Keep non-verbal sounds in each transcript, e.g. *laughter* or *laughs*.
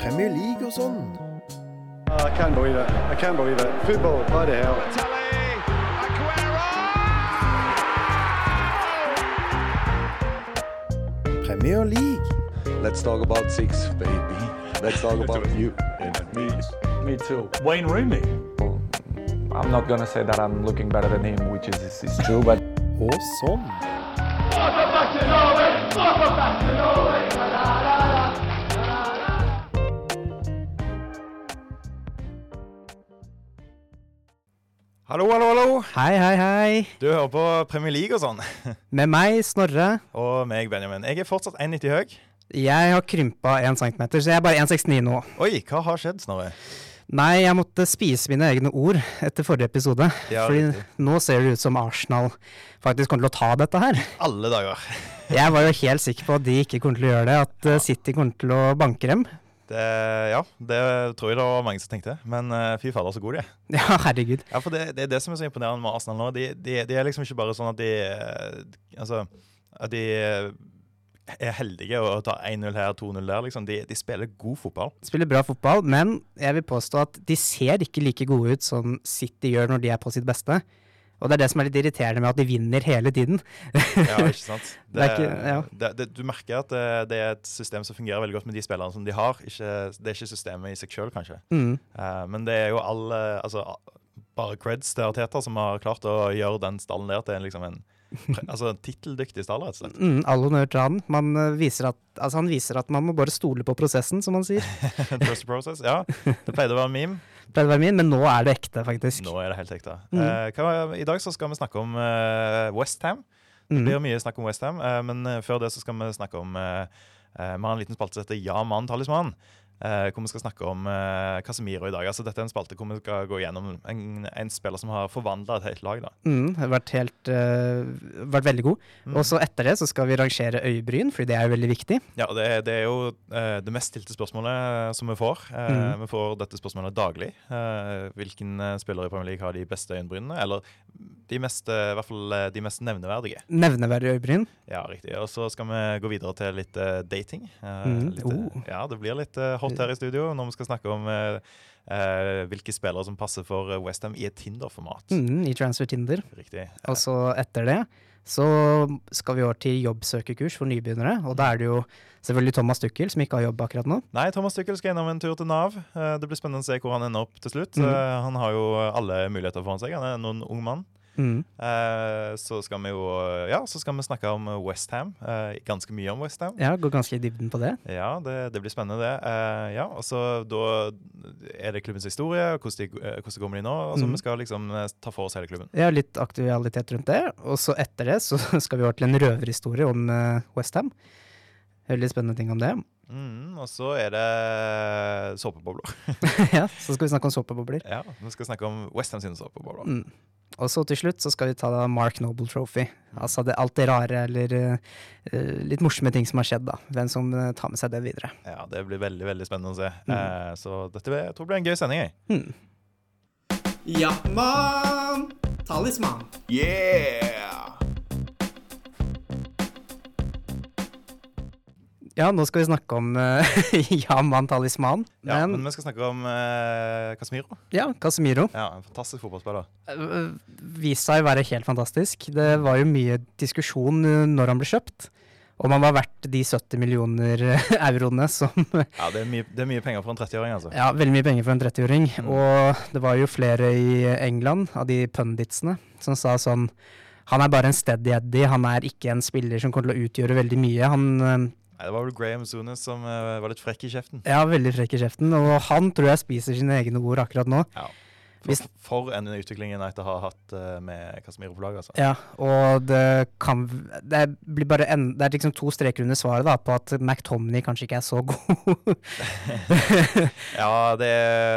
Premier League og sånn. I can't believe it. I can't believe it. Football, bloody hell. Premier League. Let's talk about six, baby. Let's talk about you and me. Me too. Wayne Rooney. I'm not gonna say that I'm looking better than him, which is, is, is true, but Og sånn. Hallo, hallo, hallo. Hei, hei, hei. Du hører på Premier League og sånn. Med meg, Snorre. Og meg, Benjamin. Jeg er fortsatt 1,90 høy. Jeg har krympa 1 cm, så jeg er bare 1,69 nå. Oi, hva har skjedd, Snorre? Nei, jeg måtte spise mine egne ord etter forrige episode. Ja, fordi riktig. nå ser det ut som Arsenal faktisk kommer til å ta dette her. Alle dager. Jeg var jo helt sikker på at de ikke kommer til å gjøre det, at eh, City kommer til å banke dem. *laughs* Det, ja, det tror jeg det var mange som tenkte. Men eh, fy fader, så gode de er. Ja, herregud. Ja, for det, det er det som er så imponerende med Arsenal nå. De, de, de er liksom ikke bare sånn at de eh, Altså, at de eh, er heldige og tar 1-0 her, 2-0 der, liksom. De, de spiller god fotball. Spiller bra fotball, men jeg vil påstå at de ser ikke like gode ut som City gjør når de er på sitt beste. Og det er det som er litt irriterende med at de vinner hele tiden. Ja, ikke sant? Det er ikke- ja. det, det, du merker at det, det er et system som fungerer veldig godt med de spillerne som de har. Ikke, det er ikke systemet i seg sjøl, kanskje. Mm. Eh, men det er jo all eh, altså, a- Bare creds til Arteta som har klart å gjøre den stallen der til en, liksom en, pre- altså, en titteldyktig stall, rett og *laughs* slett. Mm, all honnør til han. Man eh, viser at, altså han viser at man må bare stole på prosessen, som *laughs* han sier. Trust the process. Ja, det pleide å være en meme. Pleide å være min, men nå er det ekte, faktisk. Nå er det helt ekte. Mm. Eh, hva, I dag så skal vi snakke om eh, West Ham Det Mm. blir mye snakk om West Ham eh, men eh, før det så skal vi snakke om eh, eh, Vi har en liten spalte som heter Ja, mann, talisman. eh, hvor vi skal snakke om eh, Casemiro i dag. Altså, dette er en spalte hvor vi skal gå gjennom en, en spiller som har forvandla et helt lag. da. Mm, har vært, helt, eh, vært veldig god. Mm. Og så etter det så skal vi rangere øyebryn, fordi det er jo veldig viktig. Ja, og det, det er jo eh, det mest stilte spørsmålet eh, som vi får. Eh, Vi får dette spørsmålet daglig. Eh, hvilken eh, spiller i Premier League har de beste øyenbrynene? Eller de mest, eh, i hvert fall eh, de mest nevneverdige. Nevneverdige øyebryn. Ja, riktig. Og så skal vi gå videre til litt eh, dating. Eh, Mm, litt, oh. Ja, det blir litt eh, hot her i studio når vi skal snakke om eh, eh, hvilke spillere som passer for eh, West Ham i et Tinder-format. Mm, I Transfer Tinder. Riktig. Og så etter det så skal vi over til jobbsøkerkurs for nybegynnere. Og da er det jo selvfølgelig Thomas Dukkel som ikke har jobb akkurat nå. Nei, Thomas Dykkel skal innom en tur til Nav. Eh, Det blir spennende å se hvor han ender opp til slutt. Mhm. Eh, Han har jo alle muligheter foran seg. Han er en ung mann. Mm. Eh, Så skal vi jo Ja, så skal vi snakke om Westham. Ganske mye om Westham. Ja, går ganske i dybden på det. Ja, det, det blir spennende, det. Eh, ja, og så Da er det klubbens historie, og hvordan, de, eh, hvordan kommer de nå? Og så Mhm. Vi skal liksom eh, ta for oss hele klubben. Ja, litt aktualitet rundt det. Og så etter det så *laughs* skal vi over til en røverhistorie om eh, West Westham. Veldig spennende ting om det. Mhm, og så er det såpebobler. *laughs* *laughs* ja, Så skal vi snakke om såpebobler. Ja, Vi skal snakke om Westham sine såpebobler. Mm. Og så til slutt så skal vi ta da Mark Noble Trophy. Altså det, alt det rare eller eh, litt morsomme ting som har skjedd, da. Hvem som eh, tar med seg det videre. Ja, Det blir veldig veldig spennende å se. Mhm. Eh, så dette blir, jeg tror det blir en gøy sending. jeg. Mm. Jappmann! Talisman. Ja, nå skal vi snakke om uh, *laughs* Jaman Talisman. Ja, men, Men vi skal snakke om eh, Casemiro. ja, Casemiro Ja, en fantastisk fotballspiller. eh, viste seg å være helt fantastisk. Det var jo mye diskusjon eh, når han ble kjøpt. Om han var verdt de 70 millioner eh, euroene som *laughs* Ja, Det er mye, det er mye penger for en 30-åring, altså. Ja, veldig mye penger for en 30-åring. Og det var jo flere i England, av de punditsene, som sa sånn Han er bare en steady eddy, han er ikke en spiller som kommer til å utgjøre veldig mye. Han eh, Nei, det var vel Graham Zunes som eh, var litt frekk i kjeften. er veldig frekk i kjeften, og han tror jeg spiser sine egne ord akkurat nå. For, for en utvikling United har hatt eh, med Casemiro på laget, altså. Ja, og det kan Det blir bare en, Det er liksom to streker under svaret da, på at McTomney kanskje ikke er så god. Ja, det,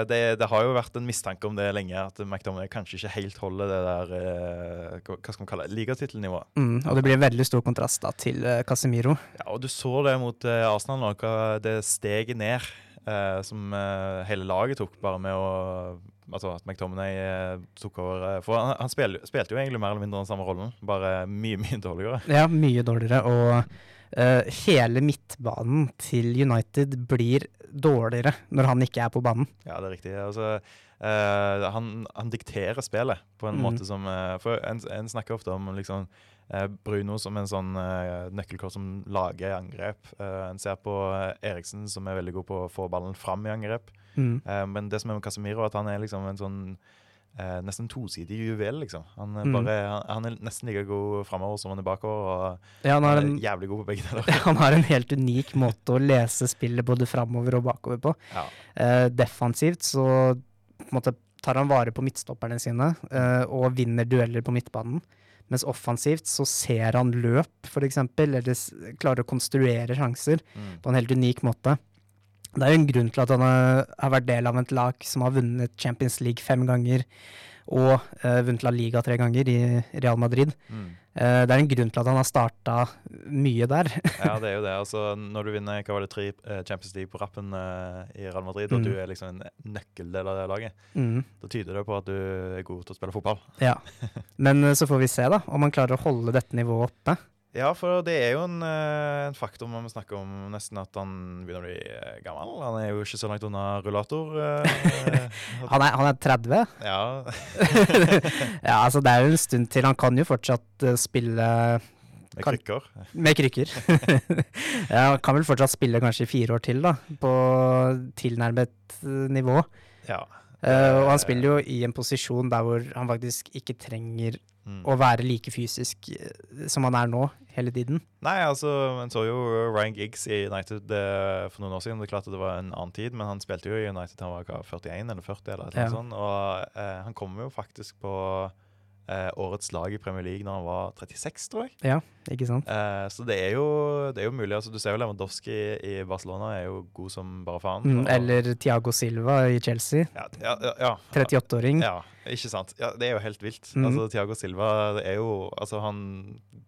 det, det har jo vært en mistanke om det lenge, at McDonagh kanskje ikke helt holder det der eh, hva hva skal man kalle det, ligatittelnivået. mm, og det blir veldig stor kontrast da til eh, Casemiro. Ja, og du så det mot eh, Arsenal nå, hva det steget ned eh, som eh, hele laget tok, bare med å Altså at McTominay eh, tok over eh, For han, han spil, spilte jo egentlig mer eller mindre den samme rollen, bare mye, mye dårligere. Ja, mye dårligere og eh, hele midtbanen til United blir dårligere når han ikke er på banen. Ja, det er riktig. Altså, eh, han, han dikterer spillet på en Mm. måte som eh, For en, en snakker ofte om liksom, eh, Bruno som en sånn eh, nøkkelkort som lager angrep. Eh, en ser på eh, Eriksen som er veldig god på å få ballen fram i angrep. Mm. Eh, men det som er med Casemiro, er at han er liksom en sånn eh, nesten tosidig juvel, liksom. Han er, Mm. bare, han, han er nesten like god framover som han er bakover, og Ja, han, han har er en, jævlig god på begge *laughs* deler. han har en helt unik måte å lese spillet både framover og bakover på. Ja. Eh, defensivt så på en måte, tar han vare på midtstopperne sine eh, og vinner dueller på midtbanen. Mens offensivt så ser han løp, f.eks., eller s- klarer å konstruere sjanser Mm. på en helt unik måte. Det er jo en grunn til at han eh, har vært del av et lag som har vunnet Champions League fem ganger og eh, vunnet La Liga tre ganger i Real Madrid. Mm. Eh, det er en grunn til at han har starta mye der. Ja, det er jo det. Altså, når du vinner hva var det, tre eh, Champions League på rappen eh, i Real Madrid, Mm. og du er liksom en nøkkeldel av det laget, Mm. da tyder det på at du er god til å spille fotball. Ja. Men eh, så får vi se da, om han klarer å holde dette nivået oppe. Ja, for det er jo en, eh, en faktor man snakker om nesten at han begynner å bli eh, gammel. Han er jo ikke så langt unna rullator. eh, *laughs* Han er, han er 30. ja. *laughs* ja, altså det er jo en stund til. Han kan jo fortsatt eh, spille Med Kan- krykker. med krykker. *laughs* ja, han kan vel fortsatt spille kanskje i fire år til, da. På tilnærmet eh, nivå. Ja. Eh, og han spiller jo i en posisjon der hvor han faktisk ikke trenger Mm. å være like fysisk eh, som han er nå, hele tiden. Nei, altså, man så jo Ryan Giggs i United eh, for noen år siden. Det er klart at det var en annen tid, men han spilte jo i United til han var hva, 41 eller 40 eller noe Ja. sånt. Og eh, han kom jo faktisk på eh, årets lag i Premier League når han var 36, tror jeg. Ikke sant? Eh, så det er jo, det er jo mulig. Altså, du ser jo Lewandowski i Barcelona er jo god som bare faen. Mm, og- eller Tiago Silva i Chelsea, ja, ja, ja, ja. 38-åring. Ja, ikke sant. Ja, det er jo helt vilt. Mhm. Altså, Tiago Silva det er jo altså, han,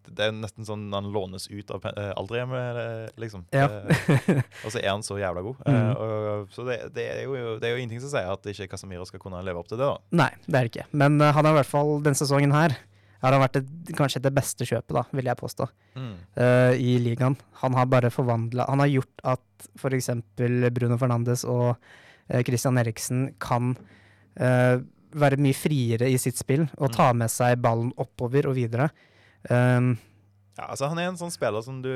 Det er nesten sånn han lånes ut av pe- eh, alderhjemmet, eh, liksom. Ja. Eh, og så er han så jævla god. Eh, Mhm. og, så det, det, er jo, det er jo ingenting som sier at ikke Casemiro skal kunne leve opp til det. da. Nei, det er det ikke. Men eh, han har i hvert fall denne sesongen her har han vært det- kanskje det beste kjøpet, da, vil jeg påstå, eh, i ligaen. Han har bare forvandla Han har gjort at f.eks. Bruno Fernandes og eh, Christian Eriksen kan eh, være mye friere i sitt spill og ta med seg ballen oppover og videre. Um, Ja, altså, han er en sånn spiller som du,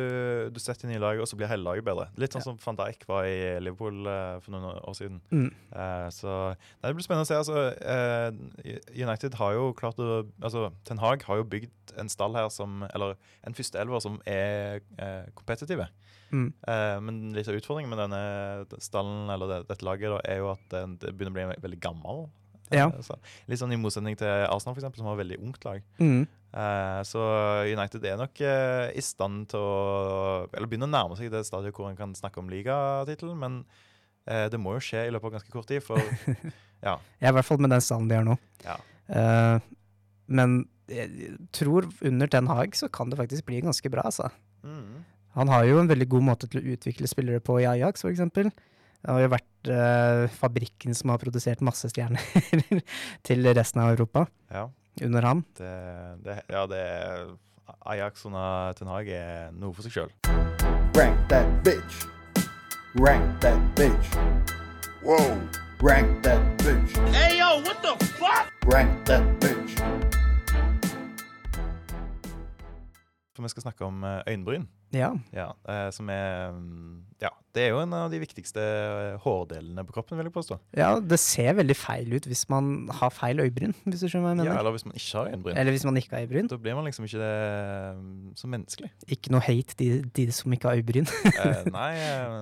du setter inn i laget, og så blir hele laget bedre. Litt sånn som van Dijk var i Liverpool eh, for noen år siden. mm, Eh, så nei, det blir spennende å se. Altså, eh, United har jo klart å altså, Ten Hag har jo bygd en stall her som Eller en førsteelver som er eh, kompetitive. mm, Eh, men litt av utfordringen med denne stallen eller det, dette laget da, er jo at den det begynner å bli veldig gammel. Eh, Ja. så, litt sånn I motsetning til Arsenal, for eksempel, som har et veldig ungt lag. mm. Eh, så United er nok eh, i stand til å Eller begynner å nærme seg det stadiet hvor en kan snakke om ligatittelen, men eh, det må jo skje i løpet av ganske kort tid. *laughs* For ja, Ja, i hvert fall med den stallen de har nå. Ja. Eh, men jeg tror under Ten Hag så kan det faktisk bli ganske bra, altså. mm, Han har jo en veldig god måte til å utvikle spillere på i Ajax, f.eks. Det har jo vært eh, fabrikken som har produsert masse stjerner *laughs* til resten av Europa ja, under han. det, det, ja, det er Ajax under Ten Hag er noe for seg sjøl. Rank that bitch. Rank that bitch. Whoa. Rank that bitch. Hey yo, what the fuck? Rank that bitch. For vi skal snakke om eh, øyenbryn. Ja. Ja, eh, som er mm, Ja, det er jo en av de viktigste eh, hårdelene på kroppen, vil jeg påstå. ja, det ser veldig feil ut hvis man har feil øyebryn, hvis du skjønner hva jeg Ja, mener. eller hvis man ikke har øyenbryn. Eller hvis man ikke har øyebryn. Da blir man liksom ikke eh, så menneskelig. Ikke noe hate de, de som ikke har øyebryn. Eh, nei, eh,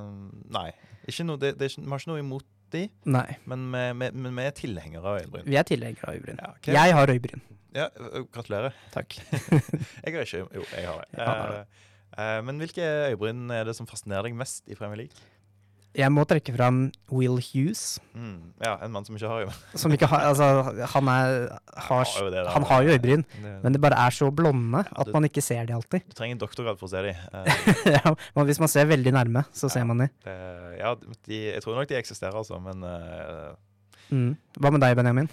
nei. Ikke noe, det, det er ikke, vi har ikke noe imot de, *laughs* Nei, men vi, vi, men vi er tilhengere av øyenbryn. vi er tilhengere av øyebryn. Ja, ok. Jeg har øyebryn. Ja, ø- ø, gratulerer. *laughs* Takk. Jeg har ikke Jo, jeg har det. Ja, han har det. Eh, eh, men hvilke øyebryn er det som fascinerer deg mest i Premier League? Jeg må trekke fram Will Hughes, Mm, ja, en mann som ikke har øyebryn. som ikke har Altså, han er Han har har, jo det, da. Han har jo øyebryn, Det- men det bare er så blonde at det- man ikke ser de alltid. *laughs* Du trenger en doktorgrad for å se Eh, dem. ja, men hvis man ser veldig nærme, så Ja. ser man de. ja, de, jeg tror nok de eksisterer, altså, men eh, Mm. Hva med deg, Benjamin?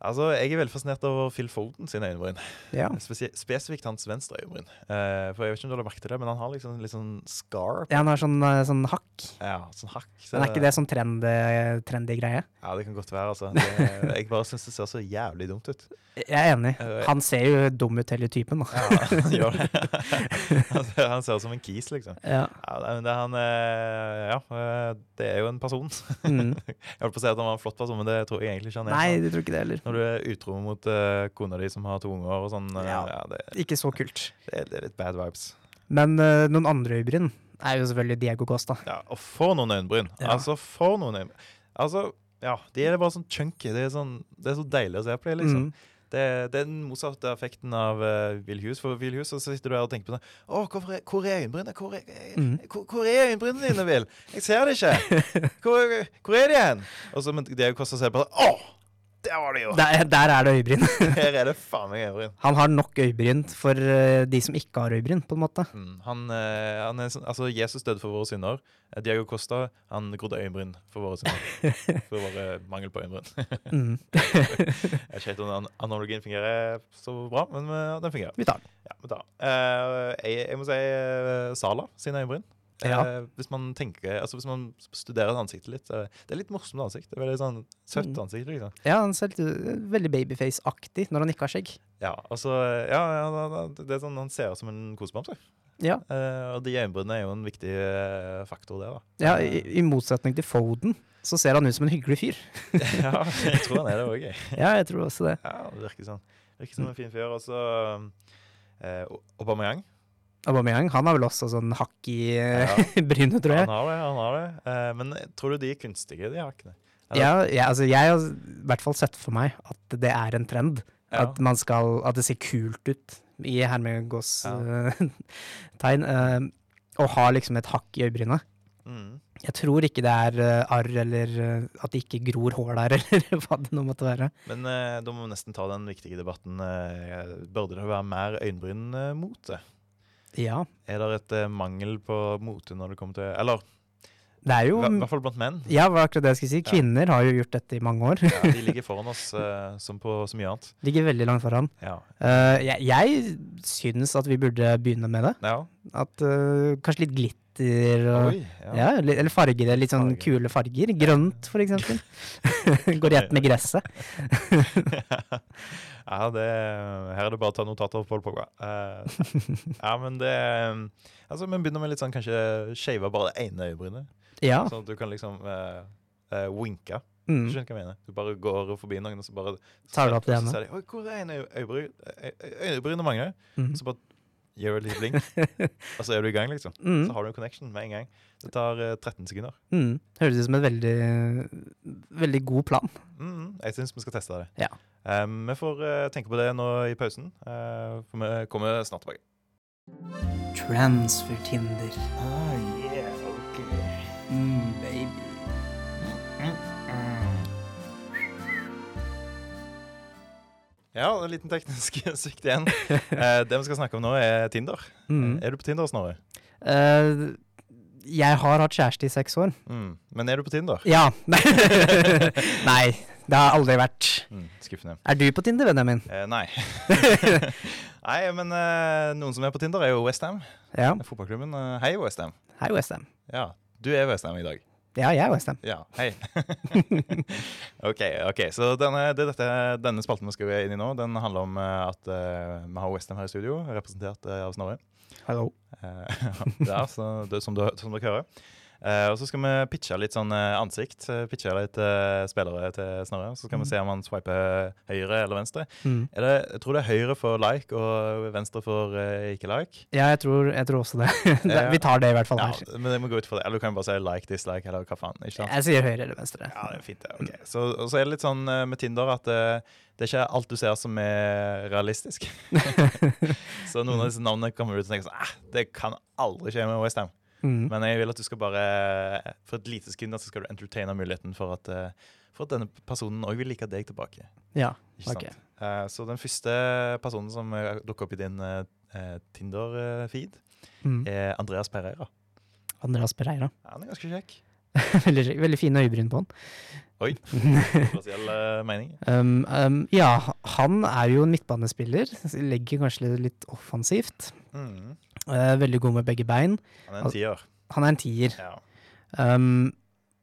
Altså, Jeg er veldig fascinert over Phil Foden sine øyenbryn. Ja. Spesie- Spesifikt hans venstre øyenbryn. Eh, for jeg vet ikke om du har merket det, men han har liksom litt sånn scar. Ja, Han har sånn, eh, sånn hakk. Ja, sånn hakk. så- Men er ikke det sånn trendy, trendy greie? Ja, det kan godt være, altså. Det, jeg bare syns det ser så jævlig dumt ut. Jeg er enig. Eh, Han ser jo dum ut, hele typen. Da. Ja, han gjør det. *laughs* Han ser- Han ser ut som en kis, liksom. *laughs* Ja. Ja, nei, men det, er han, eh, ja, eh, det er jo en person. Mm. Jeg holdt på å si at han var en flott person, men det tror jeg egentlig ikke han er. Nei, du tror ikke det heller. Når du er utro mot eh, kona di som har to unger og sånn, eh, ja. Ja. det, Ikke så kult. det, er, det er litt bad vibes. Men eh, noen andre øyebryn er jo selvfølgelig Diego Costa. Ja, og for noen øyenbryn! Ja. Altså, for noen øyenbryn. Altså, ja, de er bare sånn chunky. Det er, sånn, det er så deilig å se på dem, liksom. Mm. Det, det er den motsatte effekten av uh, Will Hughes. For Will Hughes så sitter du der og tenker på sånn Å, hvorfor er, hvor er øyenbrynene? Hvor er, eh, Mm. hvor, hvor er øyenbrynene dine, Will? Jeg ser det ikke! *laughs* Hvor, hvor er de hen? Og så, men det er jo hvordan å se på det. Å! Der var det jo! Der, der er det øyebryn. *laughs* Her er det faen meg øyenbryn. Han har nok øyebryn for eh, de som ikke har øyebryn, på en måte. Mm, Han, eh, han er, sånn- altså Jesus døde for våre synder. Eh, Diego Costa han grodde øyenbryn for våre synder. *laughs* For vår mangel på øyenbryn. Mm. *laughs* Jeg vet ikke helt om den analogien fungerer så bra, men eh, den fungerer. Vi tar den. Ja, men da. Eh, jeg, jeg må si eh, Sala sine øyenbryn. Eh, Ja. hvis, man tenker, altså hvis man studerer ansiktet litt eh, Det er litt morsomt ansikt. Det er veldig sånn Søtt Mm. ansikt. liksom Ja, han ser litt, eh, veldig babyface-aktig når han ikke har skjegg. Ja, altså, ja, ja da- da- det er sånn, Han ser ut som en kosebamse. Ja. Eh, og de øyenbrynene er jo en viktig eh, faktor, det. da Ja, i, I motsetning til Foden, så ser han ut som en hyggelig fyr. *laughs* Ja, jeg tror han er det òg, jeg. *laughs* Ja, jeg tror også det. Ja, det virker sånn. Virker som en fin fyr. Og så eh, Aubameyang. Aubameyang han har vel også sånn hakk *laughs* i Ja, eh, brynet, tror han jeg. har det. han har det. Eh, men tror du de er kunstige, de hakkene? han- Ja, jeg, altså, jeg har i hvert fall sett for meg at det er en trend. Ja. At, man skal, at det ser kult ut, i hermegås Ja. *laughs* eh, tegn, eh, å ha liksom et hakk i øyebrynet. Mm. Jeg tror ikke det er eh, arr, eller eh, at det ikke gror hår der, *laughs* eller hva det nå måtte være. Men eh, da må vi nesten ta den viktige debatten. Eh, burde det være mer øyenbrynmote? Ja, Er det et eh, mangel på mote når det kommer til Eller det i er jo hver- i hvert fall blant *laughs* menn. Ja, hva var akkurat det jeg skulle si. Ja. Kvinner har jo gjort dette i mange år. *laughs* Ja, de ligger foran oss eh, som på så mye annet. Ligger veldig langt foran. Ja. Eh, jeg, jeg syns at vi burde begynne med det. ja. At eh, kanskje litt glitter og Oi. Ja. ja, li- Eller farger. Litt sånn Farger. kule farger. Grønt, for *laughs* eksempel. Går i ett med gresset. ja, det, her er det bare å ta notater på Paul Pogba. Eh, ja, men det Altså, vi begynner med litt sånn kanskje shave bare det ene øyebrynet. Ja. Sånn at du kan liksom eh, eh, winke. Mm. Skjønner du hva jeg mener? Du bare går forbi noen, og så bare Tar du opp det ene? Så sier de 'Oi, hvor er ene øy- øyebry- øy- øy- øyebrynet mangler?' Mm. Så bare gjør du et lite blink, og så er du i gang, liksom. *laughs* Mm. Så har du en connection med en gang. Det tar eh, 13 sekunder. Mm. Høres ut som en veldig, veldig god plan. Mm, jeg syns vi skal teste det. Ja. Eh, vi får eh, tenke på det nå i pausen, eh, for vi kommer snart tilbake. Transfer Tinder. Mm, baby. Ja, en liten teknisk *laughs* svikt igjen. Eh, det vi skal snakke om nå, er Tinder. Mm. Er du på Tinder, Snorre? Eh, jeg har hatt kjæreste i seks år. Mm. Men er du på Tinder? Ja. *laughs* Nei, det har jeg aldri vært. Mm, skuffende. Er du på Tinder, Benjamin? Eh, nei. *laughs* nei, men eh, noen som er på Tinder, er jo Westham. *laughs* Ja. Fotballklubben. Eh, hei, Westham. Hei, Westham. Ja, du er Westham i dag. Ja, jeg er Westham. Ja, hei. *laughs* ok, ok, så denne, det er dette, denne spalten vi skal inn i nå, den handler om eh, at eh, vi har Westham her i studio, representert eh, av Snorre. Hallo. Eh, *laughs* ja, så det, som, du, som dere hører. Eh, og så skal vi pitche litt sånn eh, ansikt, eh, pitche litt eh, spillere til Snorre. Så skal vi se om han swiper høyre eller venstre. Mm. Er det, jeg tror det er høyre for like og venstre for eh, ikke like. Ja, jeg tror, jeg tror også det. *laughs* det. Ja. Vi tar det i hvert fall Ja, her. men jeg må gå ut for det. Eller du kan bare si like, dislike, eller hva faen. ikke sant? Jeg sier høyre eller venstre. Ja, det er fint det. ok. Så, og så er det litt sånn eh, med Tinder at eh, det er ikke alt du ser som er realistisk. *laughs* så noen av disse navnene kommer ut og tenker sånn, eh, det kan aldri skje med Westham. Mm. Men jeg vil at du skal bare For et lite sekund da, så skal du entertaine muligheten for at, eh, for at denne personen òg vil like deg tilbake. Ja, Ikke Ok. sant? Eh, så den første personen som eh, dukker opp i din eh, eh, Tinder-feed, mm. er Andreas Pereira. Andreas Pereira. *laughs* Han er ganske kjekk. veldig, kjekk. veldig fine øyebryn på han. Oi. Spesiell eh, mening. *laughs* Um, um, ja, han er jo en midtbanespiller. Legger kanskje litt- litt offensivt. Mm. Eh, veldig god med begge bein. Han er en tier. Han er en tier. Ja. Um,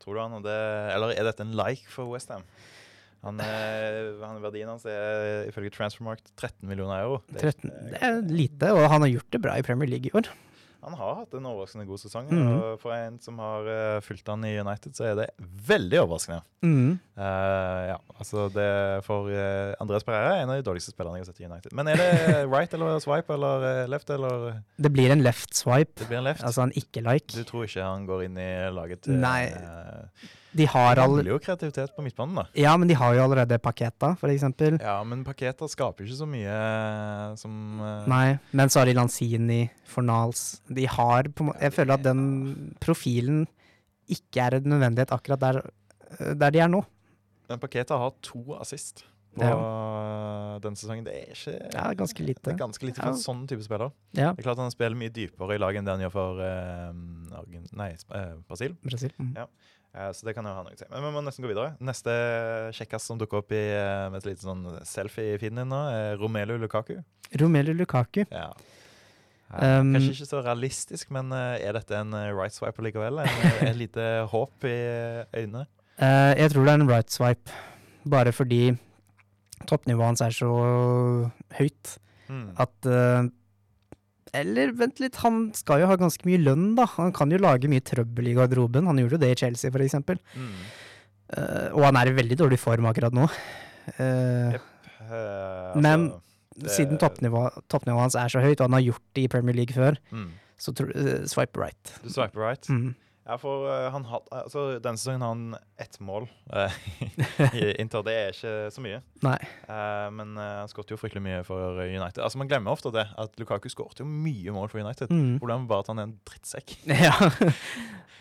Tror du han hadde Eller er dette en like for Westham? Han, eh, han, verdien hans er ifølge Transfermarkt 13 millioner euro. Det er 13, det er lite, og han har gjort det bra i Premier League i år. Han har hatt en overraskende god sesong. Mhm. Og for en som har eh, fulgt han i United, så er det veldig overraskende. Mm. Eh, ja, altså det For eh, Andreas Pereira er en av de dårligste spillerne jeg har sett i United. Men er det right eller swipe eller eh, left eller Det blir en left swipe, Det blir en left. altså en du ikke-like. tror ikke han går inn i laget til Nei. eh, De har Det all, mangler jo kreativitet på midtbanen, da. ja, men de har jo allerede Paketa, for eksempel. Ja, men paketer skaper ikke så mye eh, som eh, Nei, men så har de Lanzini, Fornals De har på en måte Jeg føler at den profilen ikke er en nødvendighet akkurat der, eh, der de er nå. Men Paketa har to assist på eh, denne sesongen. Det er ikke Ja, ganske Det lite. er ganske lite Ja. for en sånn type spiller. Ja, Det er klart Han spiller mye dypere i lag enn det han gjør for eh, Argen- nei, Sp- eh, Brasil. Brasil. Mm. Ja. Eh, så det kan jo ha noe å si. Men vi må nesten gå videre. Neste kjekkas som dukker opp i, eh, med et lite sånn selfie-feeden din nå, er Romelu Lukaku. Romelu Lukaku. Ja. Eh, Um, Kanskje ikke så realistisk, men eh, er dette en eh, right swipe likevel? En- eh, Et lite håp i øynene? Eh, jeg tror det er en right swipe, bare fordi toppnivået hans er så høyt Mm. at eh, Eller vent litt, han skal jo ha ganske mye lønn, da. Han kan jo lage mye trøbbel i garderoben. Han gjorde jo det i Chelsea, for eksempel. Mm. Eh, og han er i veldig dårlig form akkurat nå. Eh, Yep. Eh, altså, Men- det- Siden toppnivå, toppnivået hans er så høyt, og han har gjort det i Premier League før, mm. så tror, eh, swipe right. Du swiper right. Mm. Ja, for eh, han had, altså, denne sesongen har han ett mål eh, *laughs* i Inter. Det er ikke så mye. Nei. Eh, men eh, han skåret jo fryktelig mye for United. Altså, Man glemmer ofte det, at Lukaku skåret jo mye mål for United. *laughs* Mm. Problemet er bare at han er en drittsekk. Ja. *laughs*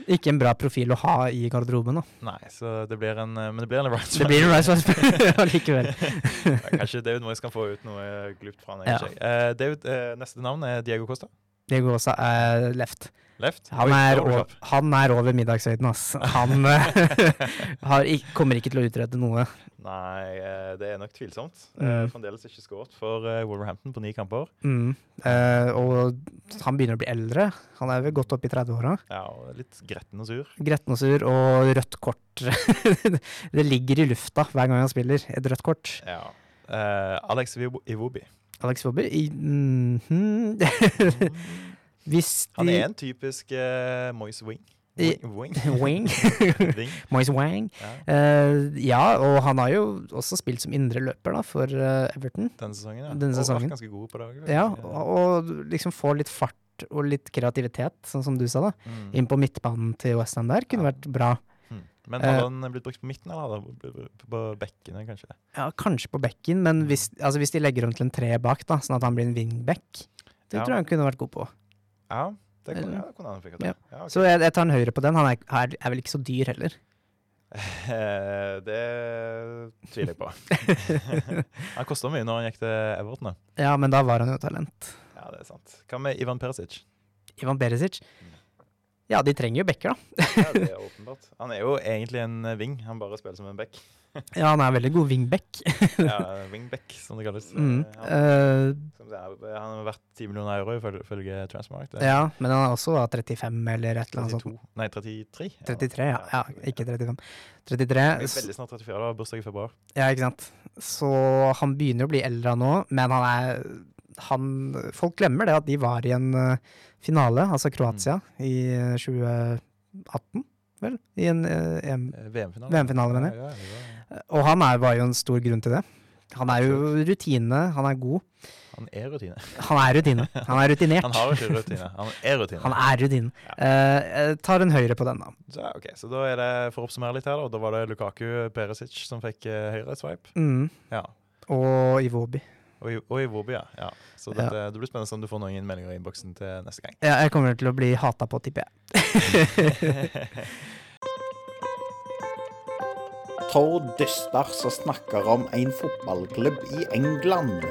Ikke en bra profil å ha i garderoben, da. Nei, så det blir en eh, Men det blir en right Det blir en *laughs* right swipe allikevel. Ja, Kanskje David Moyes kan få ut noe glupt fra han. jeg vet ikke. Eh, David, eh, neste navn er Diego Costa. Diego Rosa er left. Left. Han Oi, da var er, du over, kjapp. han er over middagshøyden, ass. *laughs* Han eh, har, ikk- kommer ikke til å utrette noe. Nei, eh, det er nok tvilsomt. Mm. Eh, Fremdeles ikke skåret for eh, Wolverhampton på ni kamper. Mm. Eh, og han begynner å bli eldre. Han er vel godt opp i 30-åra. Ja, og Litt gretten og sur. Gretten og sur og rødt kort. *laughs* det ligger i lufta hver gang han spiller. Et rødt kort. Ja. Eh, Alex Iwob- Iwobi. Alex Bobby i, mhm. *laughs* Hvis de Han er en typisk eh, Moyes wing. I- Wing. wing. *laughs* *laughs* Wing. Wing. Moise Wang. Ja, Eh, ja, og han har jo også spilt som indre løper da, for eh, Everton. denne sesongen. Ja. Denne Og vært sesongen. ganske god på Eh, det. også, Ja, faktisk. og, og liksom få litt fart og litt kreativitet, sånn som du sa, da. Mm. Inn på midtbanen til Westham der kunne Ja. vært bra. Mm. Men hadde Eh, han blitt brukt på midten, eller hadde han blitt brukt på bekkene, kanskje? Ja, kanskje på bekken, Mm. men hvis, altså, hvis de legger om til en treer bak, da, sånn at han blir en wingback, Ja. det tror jeg han kunne vært god på. Ja, det kunne, Eller- ja, det kunne han fikk til. Ja. Ja, ok. Så jeg, jeg tar en høyre på den. Han er, er, er vel ikke så dyr heller. Eh, det tviler *laughs* jeg på. han kosta mye når han gikk til Everton. da. Ja, men da var han jo talent. Ja, det er sant. Hva med Ivan Perisic? Ivan Beresic. Ja, de trenger jo backer, da. Ja, det er åpenbart. Han er jo egentlig en eh, wing, han bare spiller som en back. Ja, han er en veldig god wingback. *laughs* Ja, wingback, som det kalles. Eh, Mm. Han, Eh, som det er, han har vært 10 millioner euro ifølge- ifølge Transmark. Det er ja, men han er også da, 35 eller et eller annet sånt. 32, nei, 33. ja. 33, ja. ja. Ikke 35. Han er 33. Veldig snart 34, da. Bursdag i februar. Ja, ikke sant. Så han begynner å bli eldre nå, men han er han, Folk glemmer det at de var i en eh, finale, altså Kroatia, i eh, 2018, vel? I en eh, EM. Eh, VM-finale. VM-finale, mener jeg. jeg. Ja, ja, det var- Og han er, var jo en stor grunn til det. Han er jo rutine, han er god. han er rutine. Han er rutine. Han er rutinert. Han har ikke rutine, han er rutine. Han er rutinen. Eh, jeg tar en høyre på den, da. Så, ok, så da er det, for å oppsummere litt her, da, da var det Lukaku Perisic som fikk eh, høyre swipe. Mm. Ja. Og Iwobi. Og i, og i Wobi, ja. ja. Så dette, det blir spennende om du får noen meldinger i innboksen til neste gang. Ja, jeg kommer til å bli hata på, tipper jeg. *laughs* Tord dyster som snakker om en fotballklubb i England.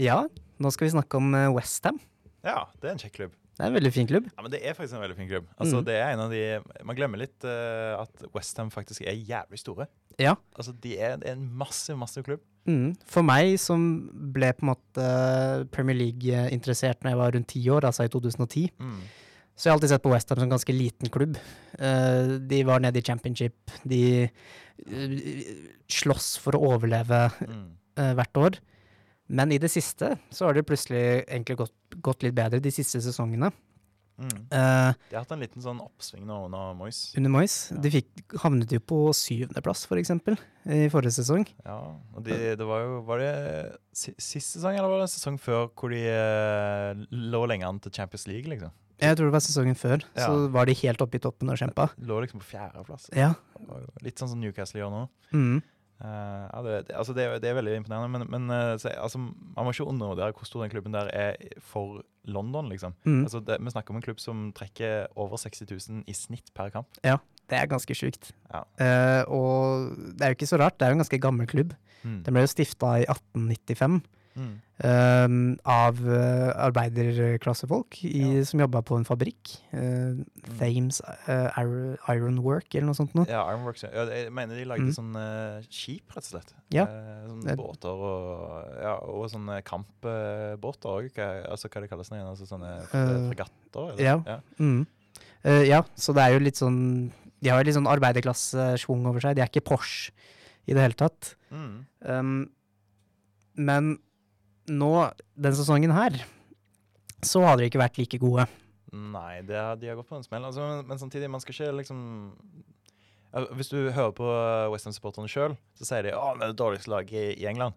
Ja, nå skal vi snakke om eh, Westham. Ja, det er en kjekk klubb. Det er en veldig fin klubb. Ja, men Det er faktisk en veldig fin klubb. Altså, Mm. det er en av de, Man glemmer litt eh, at Westham faktisk er jævlig store. Ja. Altså, de er, det er en massiv, massiv klubb. Mm. For meg som ble på en måte eh, Premier League-interessert når jeg var rundt ti år, altså i 2010, Mm. så jeg har alltid sett på Westham som en ganske liten klubb. Eh, De var nede i championship, de eh, slåss for å overleve Mm. eh, hvert år. Men i det siste så har det plutselig egentlig gått, gått litt bedre de siste sesongene. Mm. Eh, De har hatt en liten sånn oppsving nå under Moyes. under Moyes. De fikk, havnet jo på syvendeplass, for eksempel, i forrige sesong. Ja, og de, det var jo Var det si- sist sesong, eller var det en sesong før, hvor de eh, lå lenge an til Champions League, liksom? Jeg tror det var sesongen før. Ja. Så var de helt oppe i toppen og kjempa. Lå liksom på fjerdeplass. Ja. Det var jo Litt sånn som Newcastle gjør nå. Mm. Eh, ja, det, det, altså det, er- det er veldig imponerende, men, men eh, så, altså, man må ikke undervurdere hvor stor den klubben der er for London. liksom. Mm. Altså det, vi snakker om en klubb som trekker over 60 000 i snitt per kamp. Det er ganske sjukt. Ja. Eh, og det er jo ikke så rart, det er jo en ganske gammel klubb. Mm. Den ble jo stifta i 1895 Mm. eh, av eh, arbeiderklassefolk i, Ja. Mm. som jobba på en fabrikk. eh, Thames eh, Ar- Iron Work eller noe sånt noe. Ja, Ironworks. Ja, det- jeg mener de lagde Mm. sånn eh, skip, rett og slett. Ja. Eh, sånne Det- båter og, ja, og sånne kampbåter òg. Altså hva det kalles det igjen? Altså, sånne fre- Eh, fregatter? eller? ja. Mm. Eh, ja, så det er jo litt sånn De har jo litt sånn arbeiderklassesvung over seg. De er ikke Porsche i det hele tatt. Mm. Um, men nå, den sesongen her, så har dere ikke vært like gode. Nei, det har, de har gått på en smell. Altså, men, men samtidig, man skal ikke liksom Ja, Hvis du hører på eh, Westham-supporterne sjøl, så sier de at det er det dårligste laget i, i England.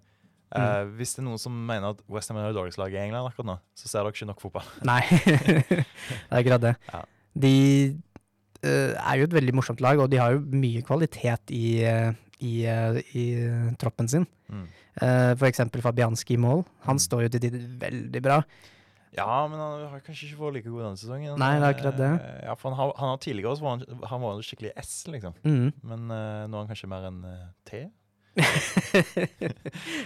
Eh, Mm. hvis det er noen som mener at Westham er det dårligste laget i England akkurat nå, så ser dere ikke nok fotball. *laughs* Nei, *laughs* det er akkurat det. Ja. De eh, er jo et veldig morsomt lag, og de har jo mye kvalitet i, eh, i, eh, i eh, troppen sin. Mm. Eh, for eksempel Fabianski i mål. Han Mm. står jo til tider veldig bra. Ja, men han har kanskje ikke vært like god denne sesongen. Nei, det er akkurat det. Eh, Ja, for han har, han har tidligere også vært han, han var en skikkelig S, liksom. Mm. *laughs* Men eh, nå er han kanskje mer en eh, T.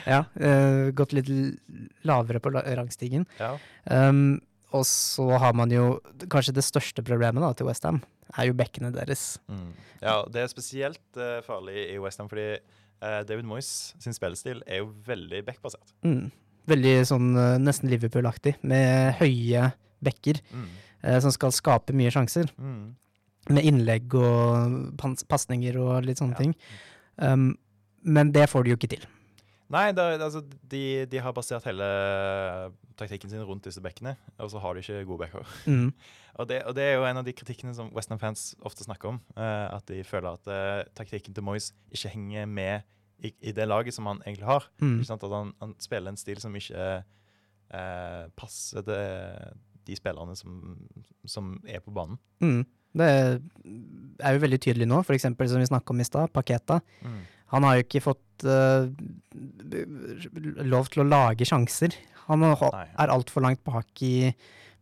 ja, eh, gått litt l- lavere på la- rangstigen. Ja. Um, og så har man jo kanskje det største problemet da, til Westham, er jo bekkene deres. Mm. ja, det er spesielt eh, farlig i Westham, fordi eh, David Moyes sin spillestil er jo veldig backbasert. Mm. Veldig sånn eh, nesten Liverpool-aktig, med høye bekker Mm. eh, som skal skape mye sjanser. Mm. Med innlegg og pans- pasninger og litt sånne ting. Um, men det får de jo ikke til. Nei, det, er- altså, de, de har basert hele taktikken sin rundt disse bekkene, og så har de ikke gode backer. Mm. Og det, og det er jo en av de kritikkene som Western-fans ofte snakker om. eh, at de føler at eh, taktikken til Moyes ikke henger med i, i det laget som han egentlig har. Mm. Ikke sant? At han, han spiller en stil som ikke eh, passer til de spillerne som, som er på banen. Mm. Det er jo veldig tydelig nå, for eksempel som vi snakket om i stad, Paketa. Mm. Han har jo ikke fått eh, lov til å lage sjanser. Han har, Nei. er altfor langt bak i,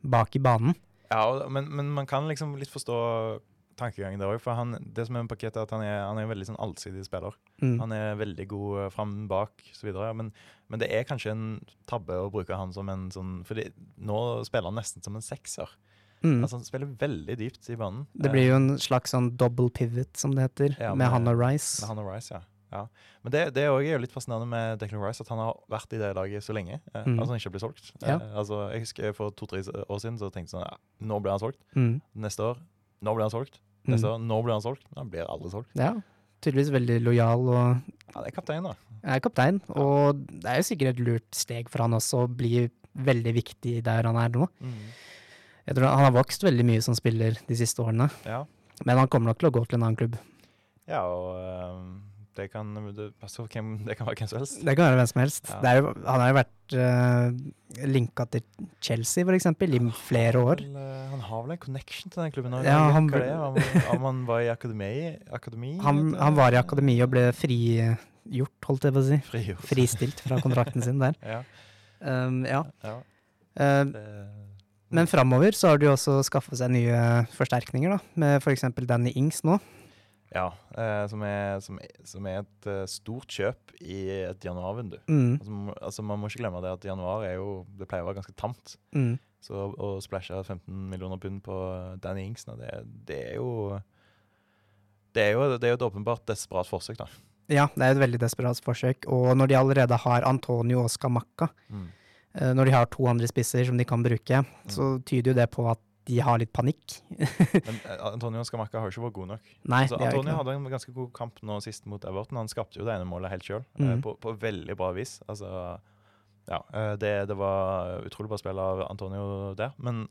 bak i banen. Ja, og, men, men man kan liksom litt forstå tankegangen der òg. For han, det som er med Paketa, er at han er, han er en veldig sånn allsidig spiller. Mm. Han er veldig god eh, fram, bak osv. Men, men det er kanskje en tabbe å bruke han som en sånn Fordi nå spiller han nesten som en sekser. Mm. Altså Han spiller veldig dypt i banen. Eh, det blir jo en slags sånn double pivot, som det heter, Ja, med med- han og Med Rice. han og Rice, ja. ja. Men det, det er også- er jo litt fascinerende med Declan Rice, at han har vært i det laget så lenge. Eh, Mhm. Altså han ikke blir solgt. Ja. Eh, altså Jeg husker for to-tre s- år siden så tenkte jeg sånn ja, Nå blir han solgt. Mm. Neste år, nå blir han solgt. Mm. Neste år, nå blir han solgt. Han blir aldri solgt. Ja, tydeligvis veldig lojal og Ja, det er kaptein, da. er kaptein. Og det er jo sikkert et lurt steg for han også å bli veldig viktig der han er nå. Jeg tror Han har vokst veldig mye som spiller de siste årene, Ja. men han kommer nok til å gå til en annen klubb. ja, og eh, det kan det, altså, hvem, det kan være hvem som helst. Det kan være hvem som helst. Ja. Det er jo, han har jo vært eh, linka til Chelsea, for eksempel, i flere år. Vel, eh, han har vel en connection til den klubben? nå? Ja, Jeg vet han hva bur- det er, om, om han var i akademi? akademi Han, heter han det? var i akademi og ble frigjort, holdt jeg på å si. Frigjort. Fristilt fra kontrakten sin der. Ja, *laughs* Um, ja. ja, Eh, det men framover så har de jo også skaffet seg nye forsterkninger, da, med f.eks. Danny Ings nå. Ja, eh, som, er, som, er, som er et eh, stort kjøp i et januarvindu. Mm, Altså, man må- altså, man må ikke glemme det at januar er jo, det pleier å være ganske tamt. mm. Så å splæsje 15 millioner pund på eh, Danny Ings, nå, det, det er jo det er, jo, det er jo et åpenbart desperat forsøk, da. Ja, det er et veldig desperat forsøk. Og når de allerede har Antonio og Skamakka, Mm. eh, når de har to andre spisser som de kan bruke, så tyder jo det på at de har litt panikk. *laughs* Men eh, Antonio Skamakka har jo ikke vært god nok. Nei, Altså, det er jo Antonio ikke det. hadde en ganske god kamp nå sist mot Everton. Han skapte jo det ene målet helt sjøl, Mm. på, på veldig bra vis. Altså, ja, eh, det, det var utrolig bra spill av Antonio der, men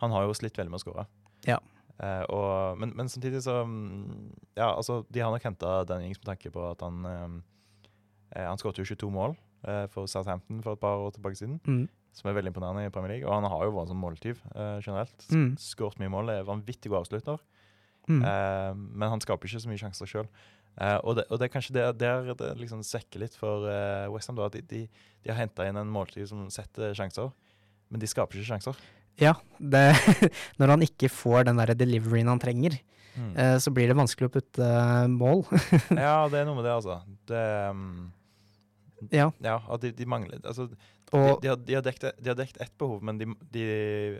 han har jo slitt veldig med å skåre. Ja. Eh, og, men, men samtidig så mm, Ja, altså, de har nok henta den Ings med tanke på at han eh, eh, Han skåret jo 22 mål eh, for Southampton for et par år tilbake siden, Mm, som er veldig imponerende i Premier League. Og han har jo vært som måltyv eh, generelt. Mm. Skåret mye mål, er vanvittig god avslutter. mm, Eh, men han skaper ikke så mye sjanser sjøl. og, det, og det er kanskje der, der det liksom svekker litt for uh, Westham. Da, at de, de, de har henta inn en måltid som setter sjanser, men de skaper ikke sjanser. ja, det, *laughs* når han ikke får den der deliveryen han trenger, Mm. eh, så blir det vanskelig å putte eh, mål. *laughs* Ja, det er noe med det, altså. Det, mm, ja, ja, at de, de mangler altså, de, og, de, har, de, har dekt, de har dekt ett behov, men de, de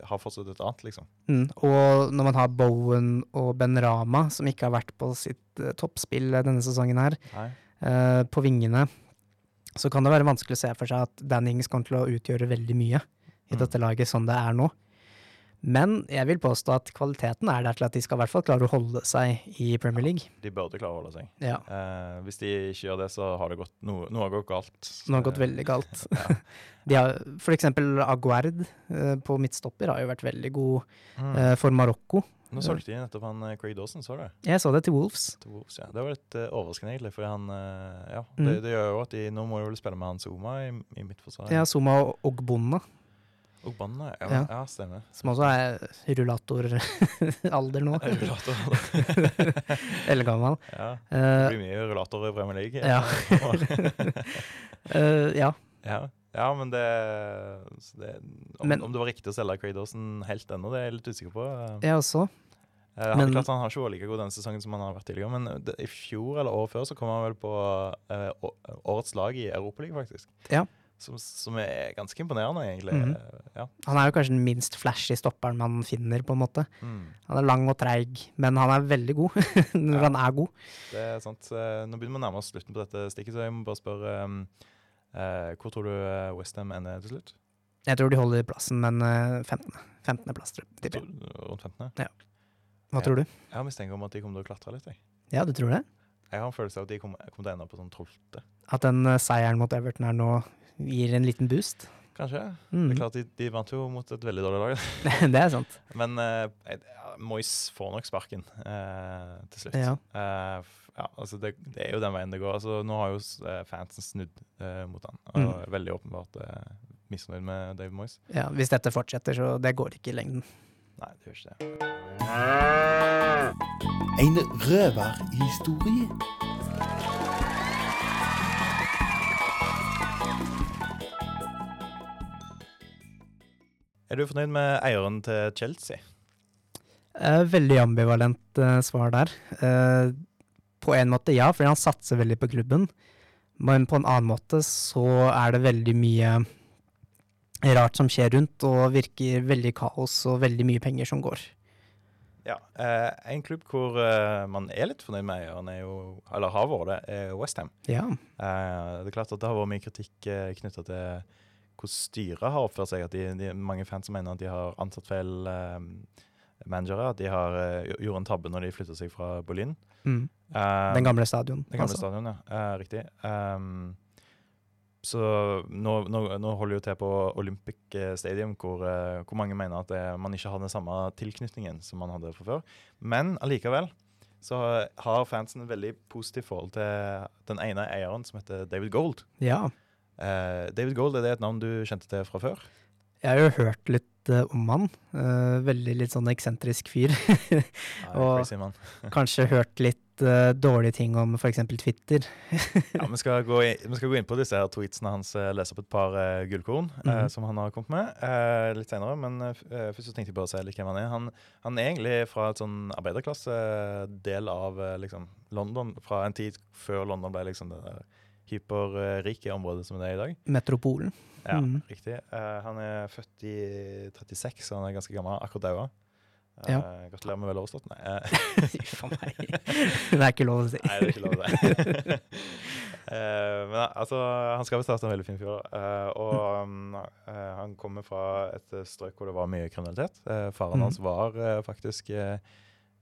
har fortsatt et annet, liksom. mm, og når man har Bowen og Ben Rama, som ikke har vært på sitt eh, toppspill denne sesongen her, Nei. eh, på vingene, så kan det være vanskelig å se for seg at Dan Ings kommer til å utgjøre veldig mye i Mm. dette laget sånn det er nå. Men jeg vil påstå at kvaliteten er der til at de skal i hvert fall klare å holde seg i Premier League. De burde klare å holde seg. Ja, Eh, hvis de ikke gjør det, så har det gått noe, noe har gått galt. Nå har det gått veldig galt. *laughs* De har, for eksempel Aguerd eh, på midtstopper har jo vært veldig god Mm. eh, for Marokko. Nå solgte de nettopp han eh, Craig Dawson, så du? Jeg så det til Wolves. til Wolves, ja. Det var litt eh, overraskende, egentlig. For han, eh, ja, Mm. det, det gjør jo at de nå må jo vel spille med han Zuma i, i midtforsvaret. Ja, Soma og Ogbonna, Og Banna, ja, ja. Ja. stemmer. som også er *laughs* rullatoralder nå. Rullatorer. Eller gammel. *laughs* ja, det Eh, blir mye rullatorer i Premier League. Ja. eh, ja. *laughs* ja. ja, men det, så det om, Men- om det var riktig å selge Craig Dawson helt ennå, det er jeg litt usikker på. Eh, Jeg også. eh, han, men- klart, han har ikke vært like god denne sesongen som han har vært tidligere, men eh, det, i fjor eller året før så kom han vel på eh, å- årets lag i Europaligaen, faktisk. Ja. Som, som er ganske imponerende, egentlig. Mhm. Eh, Ja. Han er jo kanskje den minst flashy stopperen man finner, på en måte. Mm. Han er lang og treig, men han er veldig god *laughs* når Ja. han er god. Det er sant. Eh, Nå begynner vi å nærme oss slutten på dette stikket, så jeg må bare spørre um, eh, Hvor tror du eh, West Ham ender til slutt? Jeg tror de holder plassen, men eh, 15. 15. plass, tror jeg. tipper jeg. Tror du Rundt 15.? Hva tror du? Jeg har mistenkt om at de kommer til å klatre litt. Jeg, Ja, du tror det? jeg har en følelse av at de kommer kommer til å ende opp på sånn 12. At den eh, seieren mot Everton her nå gir en liten boost? Kanskje? Det Mm. er klart de, de vant jo mot et veldig dårlig lag, *laughs* det er sant. men eh, jeg- ja, Moyes får nok sparken eh, til slutt. Ja. Eh, f- ja, altså det, det er jo den veien det går. Altså, nå har jo s- eh, fansen snudd eh, mot han, og Mm. er veldig åpenbart eh, misfornøyd med Dave Moyes. Ja, hvis dette fortsetter, så det går ikke i lengden. Nei, det gjør ikke det. En røverhistorie. Er du fornøyd med eieren til Chelsea? Eh, veldig ambivalent eh, svar der. Eh, på en måte ja, fordi han satser veldig på klubben. Men på en annen måte så er det veldig mye rart som skjer rundt, og virker veldig kaos og veldig mye penger som går. Ja. Eh, en klubb hvor eh, man er litt fornøyd med eieren, er jo, eller har vært det, er Westham. Ja. Eh, det er klart at det har vært mye kritikk eh, knytta til hvordan styret har oppført seg. At de, de, mange fans som mener at de har ansatt feil eh, managere. At de har eh, gjort en tabbe når de flytta seg fra Berlin. Mm. Eh, Den gamle stadion. Det gamle altså. stadion, ja. Eh, riktig. Ehm, så nå, nå, nå holder jo til på Olympic eh, Stadium, hvor, eh, hvor mange mener at det, man ikke har den samme tilknytningen som man hadde fra før. Men allikevel så har fansen et veldig positivt forhold til den ene eieren, som heter David Gold. Ja. Eh, David Gold, er det et navn du kjente til fra før? Jeg har jo hørt litt eh, om han. Eh, veldig litt sånn eksentrisk fyr. *laughs* Nei, Og- crazy man. Kanskje hørt litt eh, dårlige ting om f.eks. Twitter. *laughs* Ja, vi, skal gå i, vi skal gå inn på disse her tweetsene hans. eh, Lese opp et par eh, gullkorn eh, Mhm. som han har kommet med eh, litt senere. Men eh, f- eh, først så tenkte jeg bare å si litt hvem han er. Han, han er egentlig fra et sånn arbeiderklassedel av eh, liksom London. Fra en tid før London ble liksom det der hyperrike området som det er i dag. *laughs* Metropolen. Ja, Mhm. riktig. Eh, han er født i 36, så han er ganske gammel. Akkurat daua. Eh, Ja. Gratulerer med vel overstått. Nei. *laughs* eh, Faen meg. *laughs* Det er ikke lov å si. Nei, det er ikke lov det. *laughs* Eh, men eh, altså, han skal visst ha vært en veldig fin fyr. da. Eh, og um, eh, han kommer fra et eh, strøk hvor det var mye kriminalitet. Eh, faren Mhm. hans var eh, faktisk eh,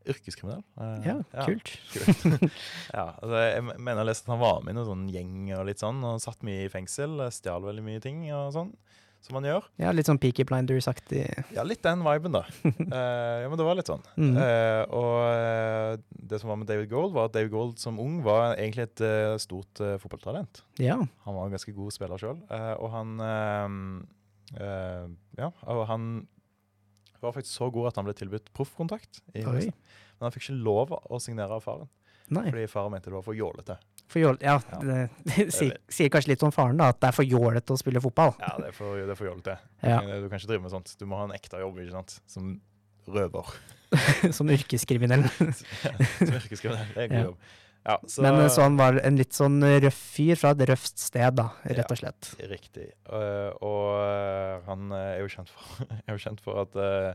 yrkeskriminell. Eh, Ja, kult. kult. *laughs* ja, altså, jeg m- mener jeg leste at han var med i noen sånn gjeng og litt sånn, og satt mye i fengsel. eh, Stjal veldig mye ting og sånn, som man gjør. Ja, litt sånn Peaky Blinders-aktig. Ja, litt den viben, da. *laughs* Eh, ja, men det var litt sånn. Mhm. Eh, og eh, det som var med David Gold, var at David Gold som ung var egentlig et eh, stort eh, fotballtalent. Ja. Han var en ganske god spiller sjøl, og han eh, eh, Ja, og han var faktisk så god at han ble tilbudt proffkontrakt. i Oi. USA. Men han fikk ikke lov å signere av faren, Nei. fordi faren mente det var for jålete. For jål, ja, Ja. Det, *laughs* det sier, sier kanskje litt om faren, da, at det er for jålete å spille fotball. *laughs* Ja, det er for, det er for jålete. Ja, Du kan ikke drive med sånt. Du må ha en ekte jobb, ikke sant. Som røver. *laughs* *laughs* Som yrkeskriminell. Som yrkeskriminell. Det er en god Ja. jobb. Ja, *laughs* så- Men eh, så han var en litt sånn røff fyr fra et røft sted, da, Ja. rett og slett. Riktig. Eh, og eh, han eh, er jo kjent for, *laughs* er jo kjent for at eh,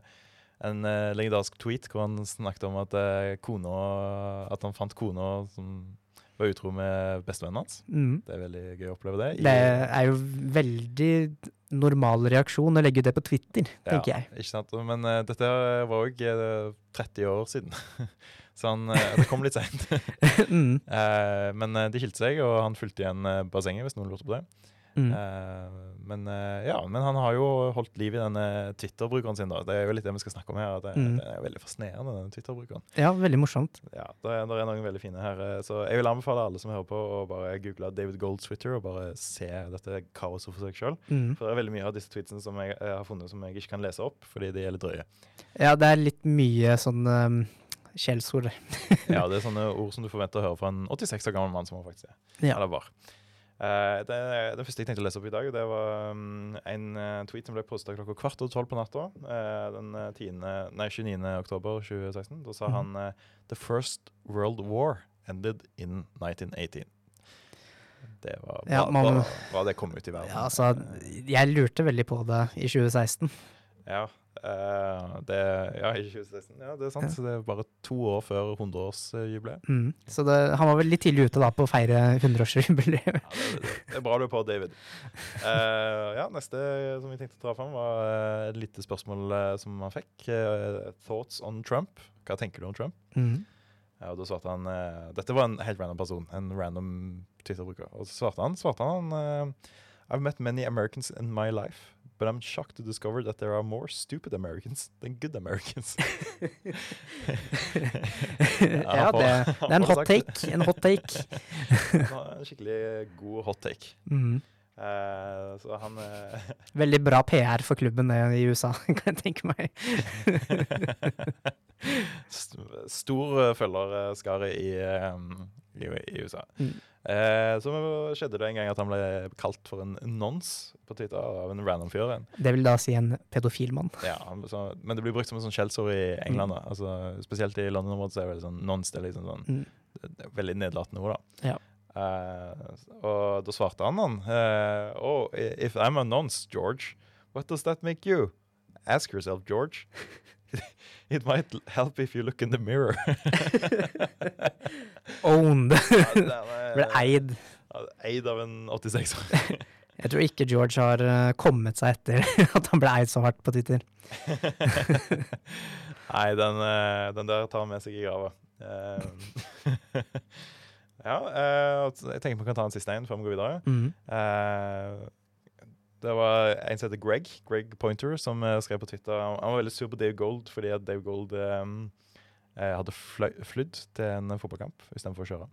en eh, legendarisk tweet hvor han snakket om at, eh, kona, at han fant kona som var utro med bestevennen hans. Mm. Det er veldig gøy å oppleve det. i- Det er jo veldig normal reaksjon å legge ut det på Twitter, tenker jeg. *laughs* Ikke sant? Men eh, dette var òg 30 år siden, *laughs* så han, eh, det kom litt *laughs* seint. mm. men eh, de skilte seg, og han fulgte igjen eh, bassenget, hvis noen lurte på det. Mm. Eh, men, eh, ja, men han har jo holdt liv i denne Twitter-brukeren sin. da Det er jo litt det vi skal snakke om her. at Det, Mm. det er jo veldig fascinerende, den Twitter-brukeren. Ja, veldig morsomt. Ja, det, er- det er noen veldig fine her. eh, Så jeg vil anbefale alle som hører på, å bare google David Gold Twitter og bare se dette kaoset for seg sjøl. Mm. For det er veldig mye av disse tweetsene som jeg eh, har funnet som jeg ikke kan lese opp, fordi de er litt *laughs* drøye. Ja, det er litt mye sånn um, skjellsord. Ja, det er sånne ord som du forventer å høre fra en 86 år gammel mann som han faktisk er. Ja. Eller var. Eh, det, det første jeg tenkte å lese opp i dag, det var mm, en eh, tweet som ble postet klokka kvart over tolv på natta. eh, den eh, 10., nei, 29. oktober 2016. Da sa Mhm. han eh, The First World War ended in 1918. Det var bra, Ja, man- bra, bra det kom ut i verden. Ja, altså, jeg lurte veldig på det i 2016. Ja, eh, det, ja, i 2016. Ja, det er sant. Ja. Så det er bare to år før 100-årsjubileet. Mm. Så det, han var vel litt tidlig ute da på å feire 100-årsjubileum. *laughs* Ja, det, det, det er bra du er på, David. Eh, ja, Neste som vi tenkte å dra fram, var eh, et lite spørsmål eh, som han fikk. Eh, thoughts on Trump? Hva tenker du om Trump? Mm. Ja, og da svarte han eh, Dette var en helt random person. En random Twitter-bruker. Og så svarte han, svarte han eh, I've met many Americans in my life. But I'm shocked to discover that there are more stupid Americans than good *laughs* Americans. ja, det, det er en hot take. En hot take. En skikkelig god hot take. Mm. Eh, så han eh, *laughs* Veldig bra PR for klubben det i USA, *laughs* kan jeg tenke meg. St- Stor eh, følgerskare i, eh, i, i USA. Mm. Eh, så skjedde det en gang at han ble kalt for en nons på Twitter av en random fyr. igjen. Det vil da si en pedofil mann. Ja, han- så- men det blir brukt som et sånn skjellsord i England. Da. Altså, spesielt i London-området så er det veldig sånn nons. Det er liksom sånn, Mm. det- det er veldig nedlatende ord, da. Ja. Eh, og da svarte han han. eh, oh, i- if I'm a nonce, George, what does that make you? Ask yourself, George. *laughs* It might help if you look in the mirror. *laughs* Owned! Ja, det er- *laughs* eh, Ble eid. Ja, Eid av en 86-åring. Jeg tror ikke George har eh, kommet seg etter *laughs* at han ble eid så hardt på Twitter. *laughs* Nei, den, eh, den der tar han med seg i grava. Eh, *laughs* ja, eh, og så- jeg tenker vi kan ta en siste en før vi går videre. Mm. Eh, det var en som heter Greg, Greg Pointer, som eh, skrev på Twitter Han han var veldig sur på Dave Gold fordi at Dave Gold eh, eh, hadde fløy- flydd til en fotballkamp istedenfor å kjøre.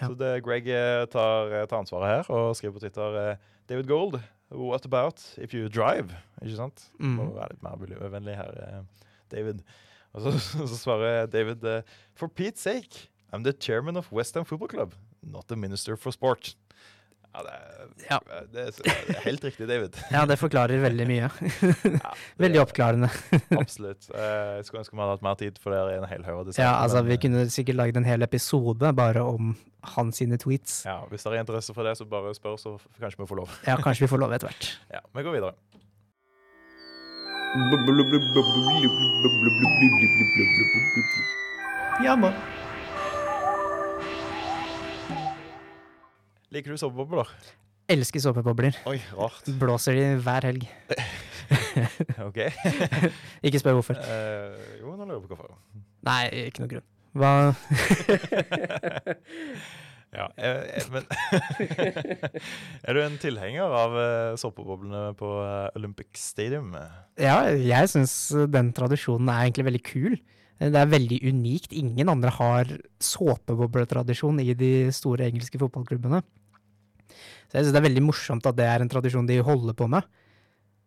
Ja. Så det, Greg eh, tar, tar ansvaret her og skriver på Twitter eh, David Gold, what about if you drive? Ikke sant? Må Mm. være litt mer *laughs* miljøvennlig her, eh, David. Og så, så svarer David eh, For Pete's sake, I'm the chairman of West Ham Football Club, not the minister for sport. Ja, det er, eh, Ja. Det, er, det er helt riktig, *laughs* David. Ja, det forklarer veldig mye. *laughs* Ja, det Veldig er- *laughs* oppklarende. Absolutt. Eh, Jeg skulle ønske vi hadde hatt mer tid, for det er en hel haug av disse. Ja, altså, men, vi eh, kunne sikkert lagd en hel episode bare om hans sine tweets. eh, Ja, Hvis det er interesse for det, så bare spør, så f- kanskje vi får lov. Ja, kanskje vi får lov etter hvert. Ja, Vi går videre. Ja, man. Liker du såpebobler? Elsker såpebobler. Oi, rart. Blåser de hver helg. *laughs* OK. Ikke spør hvorfor. Eh, jo, nå lurer jeg på *laughs* hvorfor. Nei, ikke noe grunn. Hva Ja, eh, eh, men *laughs* Er du en tilhenger av eh, såpeboblene på eh, Olympic Stadium? Ja, jeg syns den tradisjonen er egentlig veldig kul. Det er veldig unikt. Ingen andre har såpebobletradisjon i de store engelske fotballklubbene. Så jeg syns det er veldig morsomt at det er en tradisjon de holder på med.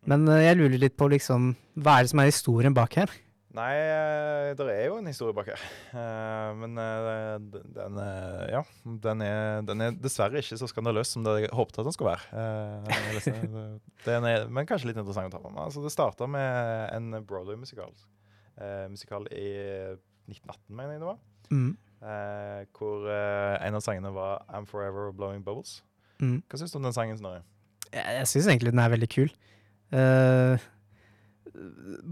Men eh, jeg lurer litt på liksom, hva er det som er historien bak her? Nei, eh, det er jo en historie bak her. Eh, Men eh, d- den eh, Ja, den er, den er dessverre ikke så skandaløs som det jeg håpet at den skulle være. Eh, jeg leste- det- den er, men kanskje litt interessant å ta på med. Altså, det starta med en Broadway-musikal eh, Musikal i 1918, mener jeg det var. Mm. eh, Hvor eh, en av sangene var 'I'm Forever Blowing Bubbles'. Mm. Hva syns du om den sangen, Snorre? *laughs* Jeg, jeg syns egentlig den er veldig kul. Eh,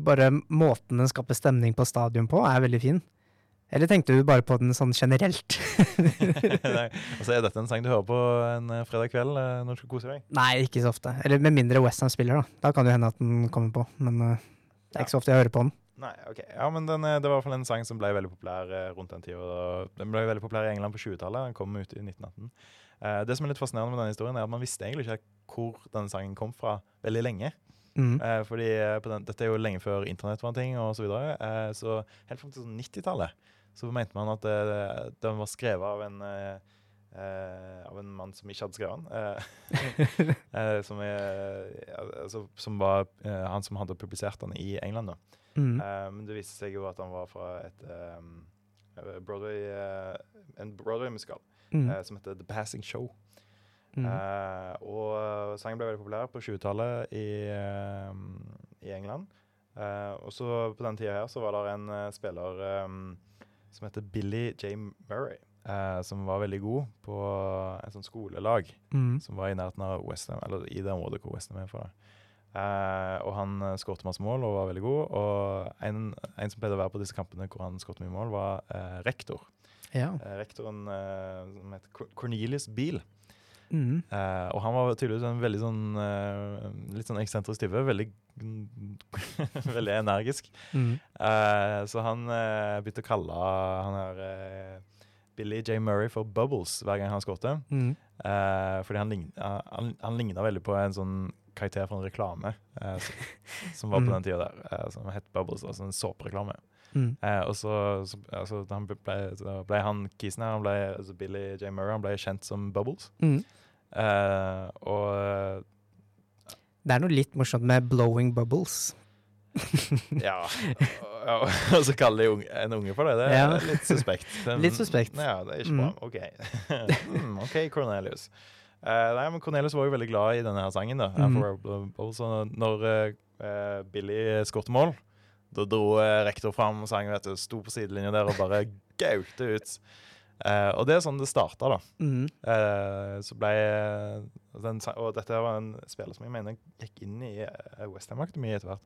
bare måten den skaper stemning på stadion på, er veldig fin. Eller tenkte du bare på den sånn generelt? *laughs* Nei, altså Er dette en sang du hører på en eh, fredag kveld eh, når du skal kose deg? Nei, ikke så ofte. Eller med mindre Westham spiller, da. Da kan det jo hende at den kommer på. Men eh, det er ikke så ofte jeg hører på den. Nei, ok. Ja, men den, eh, Det var i hvert fall en sang som ble veldig populær eh, rundt den tida. og Den ble veldig populær i England på 20-tallet. Den kom ut i 1918. Eh, det som er litt fascinerende med denne historien, er at man visste egentlig ikke hvor denne sangen kom fra veldig lenge. Mm. Eh, fordi eh, på den, Dette er jo lenge før internett var en ting, og så, videre, eh, så helt fram til sånn 90-tallet så mente man at eh, den var skrevet av en eh, eh, av en mann som ikke hadde skrevet den. Eh, *laughs* eh, som, er, ja, altså, som var eh, han som hadde publisert den i England. da. Mm. Eh, Men det viste seg jo at han var fra et ehm, eh, Broadway, eh, en Broadway-musikal Mm. eh, som heter The Passing Show. Mm. Eh, og eh, sangen ble veldig populær på 20-tallet i, ehm, i England. Eh, og så på den tida her så var det en eh, spiller ehm, som heter Billy J. Murray, eh, som var veldig god på en sånn skolelag Mm. som var i nærheten av Westham, eller i det området hvor Westham er fra. Eh, og han uh, skårte masse mål og var veldig god. Og en, en som pleide å være på disse kampene hvor han skårte mye mål, var eh, rektor. Ja. Eh, rektoren eh, som het Cor- Cornelius Beal. Mm. Eh, og han var tydeligvis en veldig sånn eh, litt sånn eksentrisk type. Veldig, *laughs* veldig energisk. Mm. Eh, så han eh, begynte å kalle han her eh, Billy J. Murray for Bubbles hver gang han skårte. Mm. Eh, fordi han, lign, eh, han, han ligna veldig på en sånn karakter fra en reklame eh, som, som var på Mm. den tida der, eh, som het Bubbles, altså en såpereklame. Mm. Eh, og så, så, altså, han ble, så ble han kisen her, han ble, altså Billy J. Murray, han ble kjent som Bubbles. Mm. Eh, og Det er noe litt morsomt med 'blowing bubbles'. ja, og, og, og så kaller de unge, en unge for det. Det er Ja. litt suspekt. Det- Litt suspekt. Mm. Ja, det er ikke bra. OK, mm, ok, Cornelius. Eh, nei, men Cornelius var jo veldig glad i denne her sangen. da. Mm. Og så når eh, eh, Billy skåret mål, da dro eh, rektor fram og sang, vet du, sto på sidelinja der og bare gaute ut. Eh, og det er sånn det starta, da. Mm. Eh, så ble eh, den, sa- Og dette var en spiller som jeg mener gikk inn i eh, West Ham Akademi etter hvert.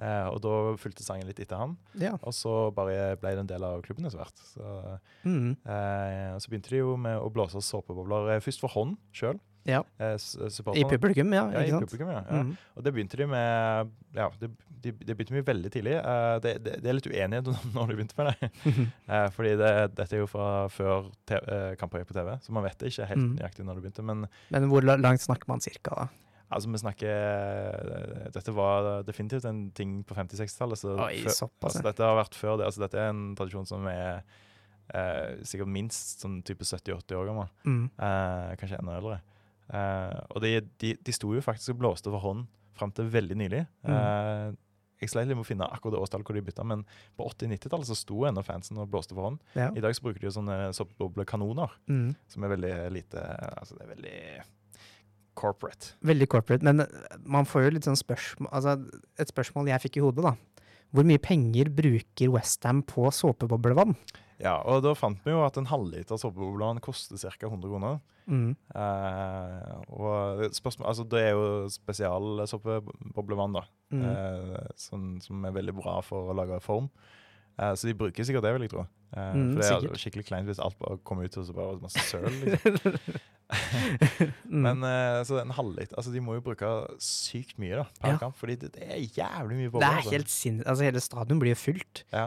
Eh, og da fulgte sangen litt etter han, Ja. og så bare ble det en del av klubben etter hvert. Så, Mm. eh, og så begynte de jo med å blåse såpebobler, eh, først for eh, hånd sjøl. Ja. I publikum, ja. Ja, i Ikke sant? publikum, ja. ja. Mm. Og det begynte de med Ja, det, de, de begynte med veldig tidlig. Eh, det, det, det er litt uenighet om *laughs* når de begynte med det. Mm. Eh, fordi det, dette er jo fra før te- eh, kamper gikk på TV, så man vet ikke helt Mm. nøyaktig når det begynte. Men *laughs* Men hvor la- langt snakker man cirka, da? altså, vi snakker Dette var definitivt en ting på 50-60-tallet. Så Oi, før- såpass. altså, ja. dette har vært før det. Altså, dette er en tradisjon som er eh, sikkert minst sånn type 70-80 år gammel. Mm. Eh, kanskje enda eldre. Mm. Eh, og de, de, de sto jo faktisk og blåste for hånd fram til veldig nylig. Eh, Jeg sleit litt med å finne akkurat det årstallet hvor de bytta, men på 80-90-tallet så sto ennå fansen og blåste for hånd. Ja. I dag så bruker de jo sånne soppboblekanoner, Mm. som er veldig lite Altså, det er veldig corporate. Veldig corporate, men eh, man får jo litt sånn spørsmål altså Et spørsmål jeg fikk i hodet, da. Hvor mye penger bruker Westham på såpeboblevann? Ja, og da fant vi jo at en halvliter soppeboblevann koster ca. 100 kroner. Mm. Eh, og spørsmål, altså det er jo spesialsoppeboblevann, da. Mm. *laughs* eh, som, som er veldig bra for å lage form. Eh, så de bruker sikkert det, vil jeg tro. Eh, Mm, for det er sikkert. skikkelig kleint hvis alt bare kom ut og så bare var det masse *laughs* søl. Liksom. Mm. Men eh, så en halvliter Altså, de må jo bruke sykt mye da, per Ja. kamp, fordi det, det er jævlig mye Det bobler. er helt sinnssykt. Altså, hele stadion blir jo fylt. ja.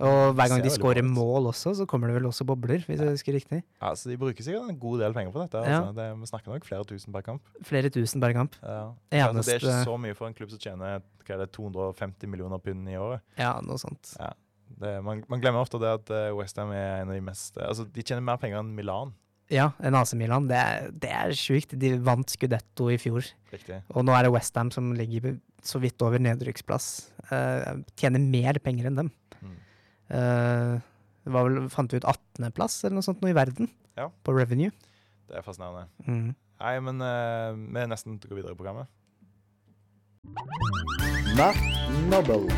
Og hver gang Ser de veldig scorer bra ut. mål også, så kommer det vel også bobler, hvis jeg husker riktig. ja, Så de bruker sikkert en god del penger på dette. Ja. Altså. Det, vi snakker nok flere tusen per kamp. Flere tusen per kamp. Ja. Eneste- Altså, det er ikke så mye for en klubb som tjener hva er det, 250 millioner pund i året. Ja, noe sånt. Det, man, man glemmer ofte det at eh, West Ham er en av de mest Altså, de tjener mer penger enn Milan. Ja, en AC Milan. Det er, det er sjukt. De vant Scudetto i fjor, Riktig. og nå er det Westham som ligger så vidt over nedrykksplass. Eh, tjener mer penger enn dem. Mm. Eh, det var vel, fant vi ut 18.-plass eller noe sånt nå i verden, Ja. på revenue. Det er fascinerende. Mm. Nei, men eh, vi er nesten til å gå videre i programmet. Merk Nobel.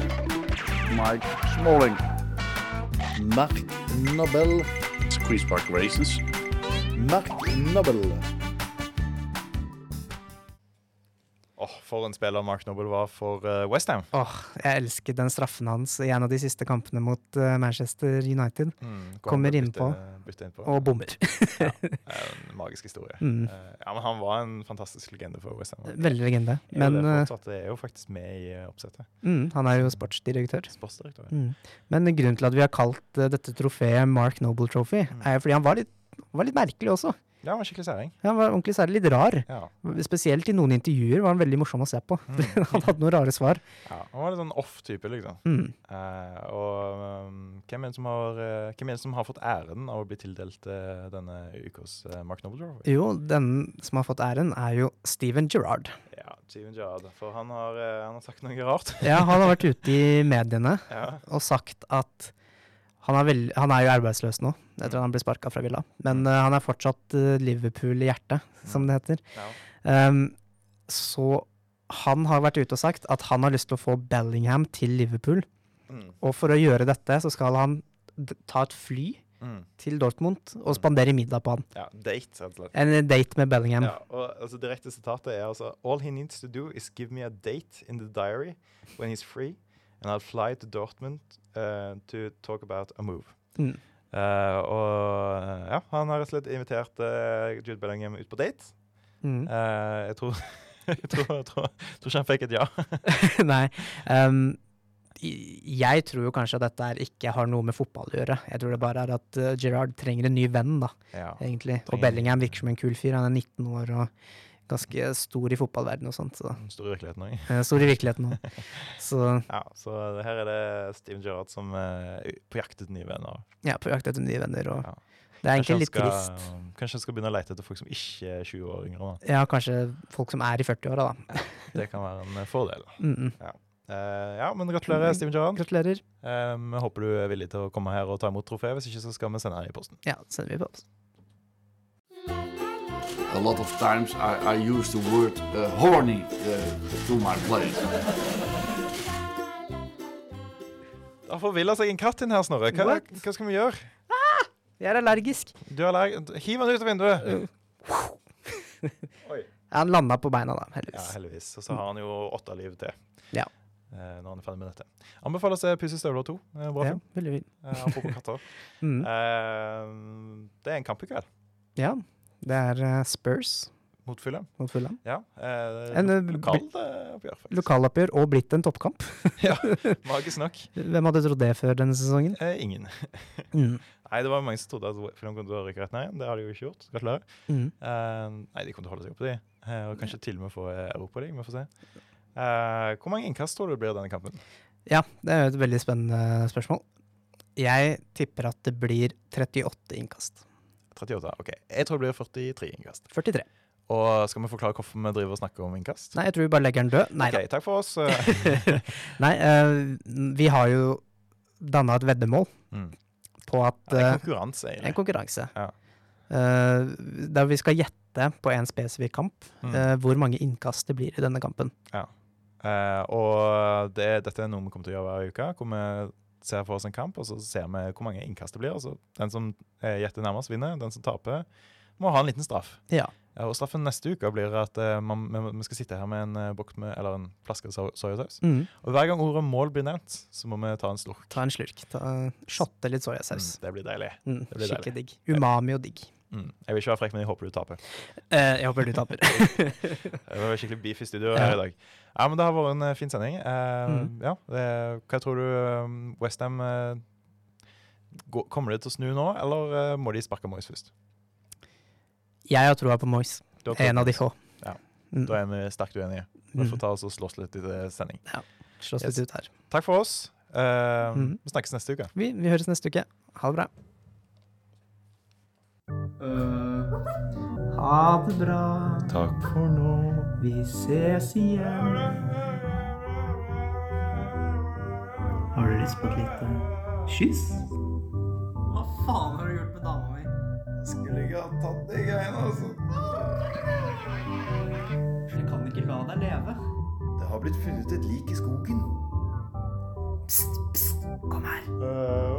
Mike Smalling. Merk Nobel. It's Queen's Park Races. Merk Nobel. Åh, For en spiller Mark Noble var for eh, West Ham. Åh, jeg elsket den straffen hans i en av de siste kampene mot eh, Manchester United, Mm, Kommer bytte- innpå. bytte innpå. og bommer. Eh, En magisk historie. Mm. Eh, Eh, ja, men Han var en fantastisk legende for West Ham. Veldig *laughs* legende. Er jo Men det, eh, fortsatt, det er jo faktisk med i eh, oppsettet. mm, han er jo sportsdirektør. Sportsdirektør. Mm. Men grunnen til at vi har kalt eh, dette trofeet Mark Noble Trophy, Mm. er jo fordi han var litt, var litt merkelig også. Ja, han var skikkelig særing. Han var ordentlig særlig litt rar. Ja. Spesielt i noen intervjuer var han veldig morsom å se på. *laughs* han hadde noen rare svar. Ja, han var litt sånn off-type, liksom. Mm. Eh, og ehm, hvem, er det som har, eh, hvem er det som har fått æren av å bli tildelt eh, denne ukas eh, Mark Noble Trophy? Jo, den som har fått æren, er jo Steven Gerrard. Ja, Steven Gerrard. For han har, eh, han har sagt noe rart. Ja, han har vært ute i mediene *laughs* ja. og sagt at han er, veld, han er jo arbeidsløs nå, etter at han ble sparka fra Villa. Men eh, han er fortsatt eh, Liverpool i hjertet, som det heter. Ja. Ehm, så han har vært ute og sagt at han har lyst til å få Bellingham til Liverpool. Mm. Og for å gjøre dette, så skal han d ta et fly Mm. til Dortmund og spandere middag på han. ja. Date, rett og slett. En date med Bellingham. Ja, og altså, Direkte sitatet er altså All he needs to do is give me a date in the diary when he's free, and I'll fly to Dortmund uh, to talk about a move. Mm. Eh, og eh, ja, han har rett og slett invitert eh, Jude Bellingham ut på date. Mm. Eh, jeg tror *laughs* jeg tror, jeg tror, jeg tror ikke han fikk et ja. *laughs* Nei. ehm, i- jeg tror jo kanskje at dette her ikke har noe med fotball å gjøre. Jeg tror det bare er at eh, Gerrard trenger en ny venn, da, egentlig. Og trenger- Bellingham virker som en kul fyr. Han er 19 år og ganske stor i fotballverdenen og sånt. Så. Den store virkeligheten også. eh, Stor i virkeligheten òg. *laughs* Så Ja, så her er det Steven Gerrard som eh, er på jakt etter nye venner. ja, på jakt etter nye venner. Og Ja. det er Kanskje han egentlig litt skal- trist. Kanskje han skal begynne å lete etter folk som ikke er 20 år *laughs* yngre. Da. Ja, kanskje folk som er i 40-åra, da. Det kan være en eh, fordel. Mm -mm. Eh, ja, men gratulerer, Steven Gerrard. Gratulerer. Eh, Vi håper du er villig til å komme her og ta imot trofeet. Hvis ikke, så skal vi sende det i posten. Ja, sender vi på oss. A lot of times I, I use the word uh, horny uh, to my players. Det har forvilla seg en katt inn her, Snorre. Hva, What? hva skal vi gjøre? Jeg er allergisk. Du er allerg... Hiv den ut av Eh, vinduet! Ja, Han landa på beina, da, Ja, heldigvis. heldigvis. Og så har han jo åtte liv til. Ja. Eh, Når han er ferdig med dette. Anbefaler å se Pussy støvler 2. Eh, Bra Ja, film. veldig fint. Eh, Apropos katter. *laughs* Mm. Eh, Det er en kamp i kveld Ja, det er eh, Spurs mot Fulham. mot Fulham. Ja. eh, En, eh, lo- Lokalt eh, oppgjør, faktisk. *laughs* Lokaloppgjør og blitt en toppkamp. *laughs* Magisk nok. Hvem hadde trodd det før *laughs* denne sesongen? Eh, Ingen. Mm. Nei, det var mange som trodde at Fulham kom til å rykke rett ned. Det har de jo ikke gjort. Gratulerer. Mm. Eh, nei, de kommer til å holde seg oppe, de. Eh, og kanskje til og med få eh, Europaligaen. Vi får se. Eh, hvor mange innkast tror du det blir i denne kampen? Ja, det er jo et veldig spennende spørsmål. Jeg tipper at det blir 38 innkast. 38? OK. Jeg tror det blir 43 innkast. 43. Og skal vi forklare hvorfor vi driver og snakker om innkast? Nei, jeg tror vi bare legger den død. Nei, da. Ok, takk for *laughs* oss. Eh, Nei, eh, vi har jo danna et veddemål Mm. på at Det er eh, en konkurranse, En egentlig. konkurranse. Ja. Eh, der vi skal gjette på en spesifikk kamp Mm. eh, hvor mange innkast det blir i denne kampen. Eh, og det, dette er noe vi kommer til å gjøre hver uke, hvor vi ser for oss en kamp, og så ser vi hvor mange innkast det blir. Og så den som eh, gjetter nærmest, vinner. Den som taper, må ha en liten straff. Ja. Ja, Og straffen neste uke blir at eh, man, vi- vi skal sitte her med en eh, boks med, eller en flaske so- soyasaus. Mm. Og hver gang ordet mål blir nevnt, så må vi ta en slurk. Ta en slurk. Ta, shotte litt soyasaus. Mm, det blir deilig. Mm. blir Skikkelig digg. Umami og digg. Mm. Jeg vil ikke være frekk, men jeg håper du taper. Eh, jeg håper du taper. Det var skikkelig beef i studio Ja. her i dag. Ja, men Det har vært en eh, fin sending. Eh, Mhm. ja, det, hva tror du Westham uh, Kommer det til å snu nå, eller eh, må de sparke Moyes først? *laughs* jeg har troa på Moyes. Du har trodd En av Mm. de Moyes. få. Ja. Mm. Da er vi sterkt uenige. Vi får ta oss og slåss litt i det sending. Slåss Yes. litt ut her. Takk for oss. Eh, Mhm. Vi snakkes neste uke. Vi, vi høres neste uke. Ha det bra. ha det bra. Takk for nå. Vi ses igjen. Har du lyst på et lite kyss? Hva faen har du gjort med dama mi? Skulle ikke ha tatt de greiene, altså. Jeg kan ikke la deg leve. Det har blitt funnet et lik i skogen. Pst, pst, kom her. Å